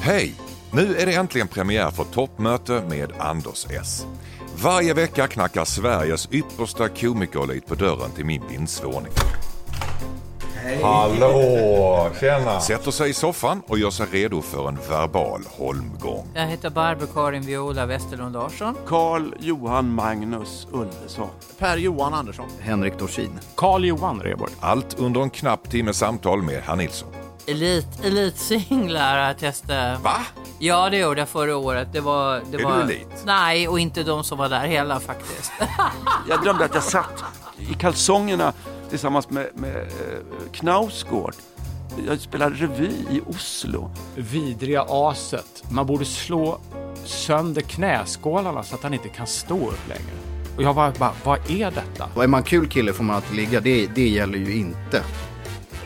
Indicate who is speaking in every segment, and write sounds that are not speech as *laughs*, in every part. Speaker 1: Hej! Nu är det äntligen premiär för Toppmöte med Anders S. Varje vecka knackar Sveriges yppersta komikerelit på dörren till min vindsvåning.
Speaker 2: Hallå! Tjena!
Speaker 1: Sätter sig i soffan och gör sig redo för en verbal holmgång.
Speaker 3: Jag heter Barbro Karin Viola Westerlund Larsson.
Speaker 4: Karl Johan Magnus Ulveson.
Speaker 5: Per-Johan Andersson.
Speaker 6: Henrik Dorsin.
Speaker 7: Karl-Johan Reborg.
Speaker 1: Allt under en knapp timme samtal med Herr Nilsson.
Speaker 3: Elit, elitsinglar har jag testat.
Speaker 1: Va?
Speaker 3: Ja, det gjorde jag förra året. Det var, det
Speaker 1: Är
Speaker 3: var...
Speaker 1: du elit?
Speaker 3: Nej, och inte de som var där hela faktiskt.
Speaker 4: Jag drömde att jag satt i kalsongerna tillsammans med, med eh, Knausgård. Jag spelade revy i Oslo.
Speaker 7: Vidriga aset. Man borde slå sönder knäskålarna så att han inte kan stå upp längre. Och jag var bara, vad är detta?
Speaker 6: Och är man kul kille får man alltid ligga. Det, det gäller ju inte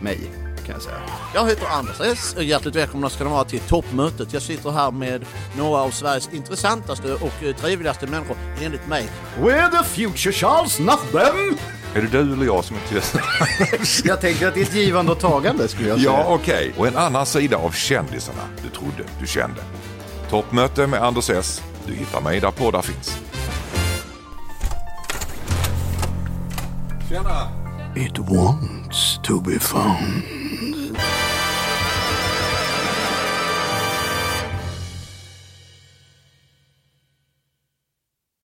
Speaker 6: mig, kan jag säga.
Speaker 5: Jag heter Anders S och hjärtligt välkomna ska ni vara till toppmötet. Jag sitter här med några av Sveriges intressantaste och eh, trevligaste människor enligt mig.
Speaker 6: We're the future Charles, not them!
Speaker 1: Är det du eller jag som är tyst?
Speaker 6: Jag tänker att det är ett givande och tagande skulle jag
Speaker 1: *laughs*
Speaker 6: säga.
Speaker 1: Ja, okej. Och en annan sida av kändisarna du trodde du kände. Toppmöte med Anders S. Du hittar mig där poddar finns. Tjena!
Speaker 6: It wants to be found.